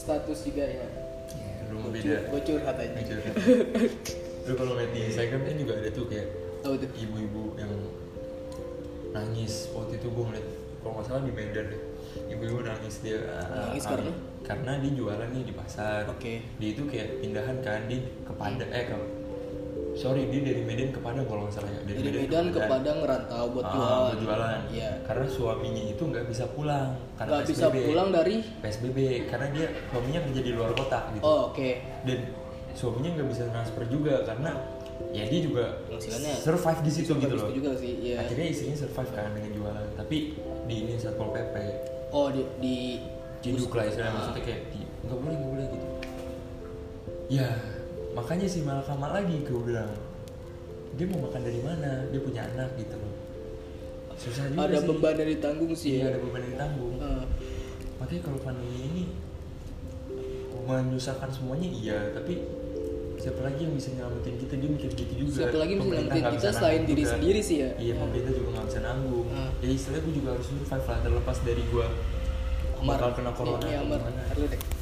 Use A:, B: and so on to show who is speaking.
A: status juga ya
B: belum
A: Gua
B: beda
A: cur- gua curhat aja
B: Mikir. Lu kalau lihat di Instagram kan juga ada tuh kayak
A: Tahu tuh
B: ibu-ibu yang nangis waktu itu gue ngeliat kalau nggak salah di Medan deh ibu-ibu nangis dia ah,
A: Nangis
B: ah,
A: karena?
B: karena dia jualan nih di pasar
A: Oke.
B: dia itu kayak pindahan kan dia ke Padang eh ke sorry dia dari Medan ke Padang kalau nggak salah ya
A: dari Medan ke Padang ngerantau buat
B: Ah,
A: jualan
B: buat jualan
A: iya
B: karena suaminya itu nggak bisa pulang karena Gitu.
A: nggak bisa
B: PSBB.
A: pulang dari
B: PSBB karena dia suaminya kerja di luar kota gitu
A: oh, oke
B: dan suaminya nggak bisa transfer juga karena ya dia juga
A: Penghasilannya
B: survive di situ
A: Nggak
B: gitu
A: bisa
B: loh
A: juga sih iya
B: akhirnya istrinya survive kan dengan jualan tapi di ini satpol pp
A: oh di, di Ah.
B: jiduk lah istilahnya kan, maksudnya kayak di- Ah. nggak boleh nggak boleh gitu ya makanya si malakama lagi gue bilang dia mau makan dari mana dia punya anak gitu loh susah
A: ada
B: juga Nah, sih.
A: beban yang ditanggung
B: Iya,
A: sih ya
B: ada beban yang ditanggung
A: Eh,
B: makanya kalau pandemi ini menyusahkan semuanya iya tapi siapa lagi yang bisa nyelamatin kita dia mikir gitu juga
A: Siapa lagi yang bisa
B: Pemerintah
A: nyelamatin
B: nggak bisa
A: kita selain
B: nanggung
A: diri
B: juga.
A: sendiri sih ya?
B: iya
A: Ya.
B: pemerintah juga nggak bisa nanggung Ya
A: Hmm.
B: jadi istilahnya gue juga harus survive lah terlepas dari gue
A: Amar.
B: bakal kena
A: Ini-
B: corona
A: ini
B: atau
A: Iya, Amar.
B: gimana.
A: Harus deh.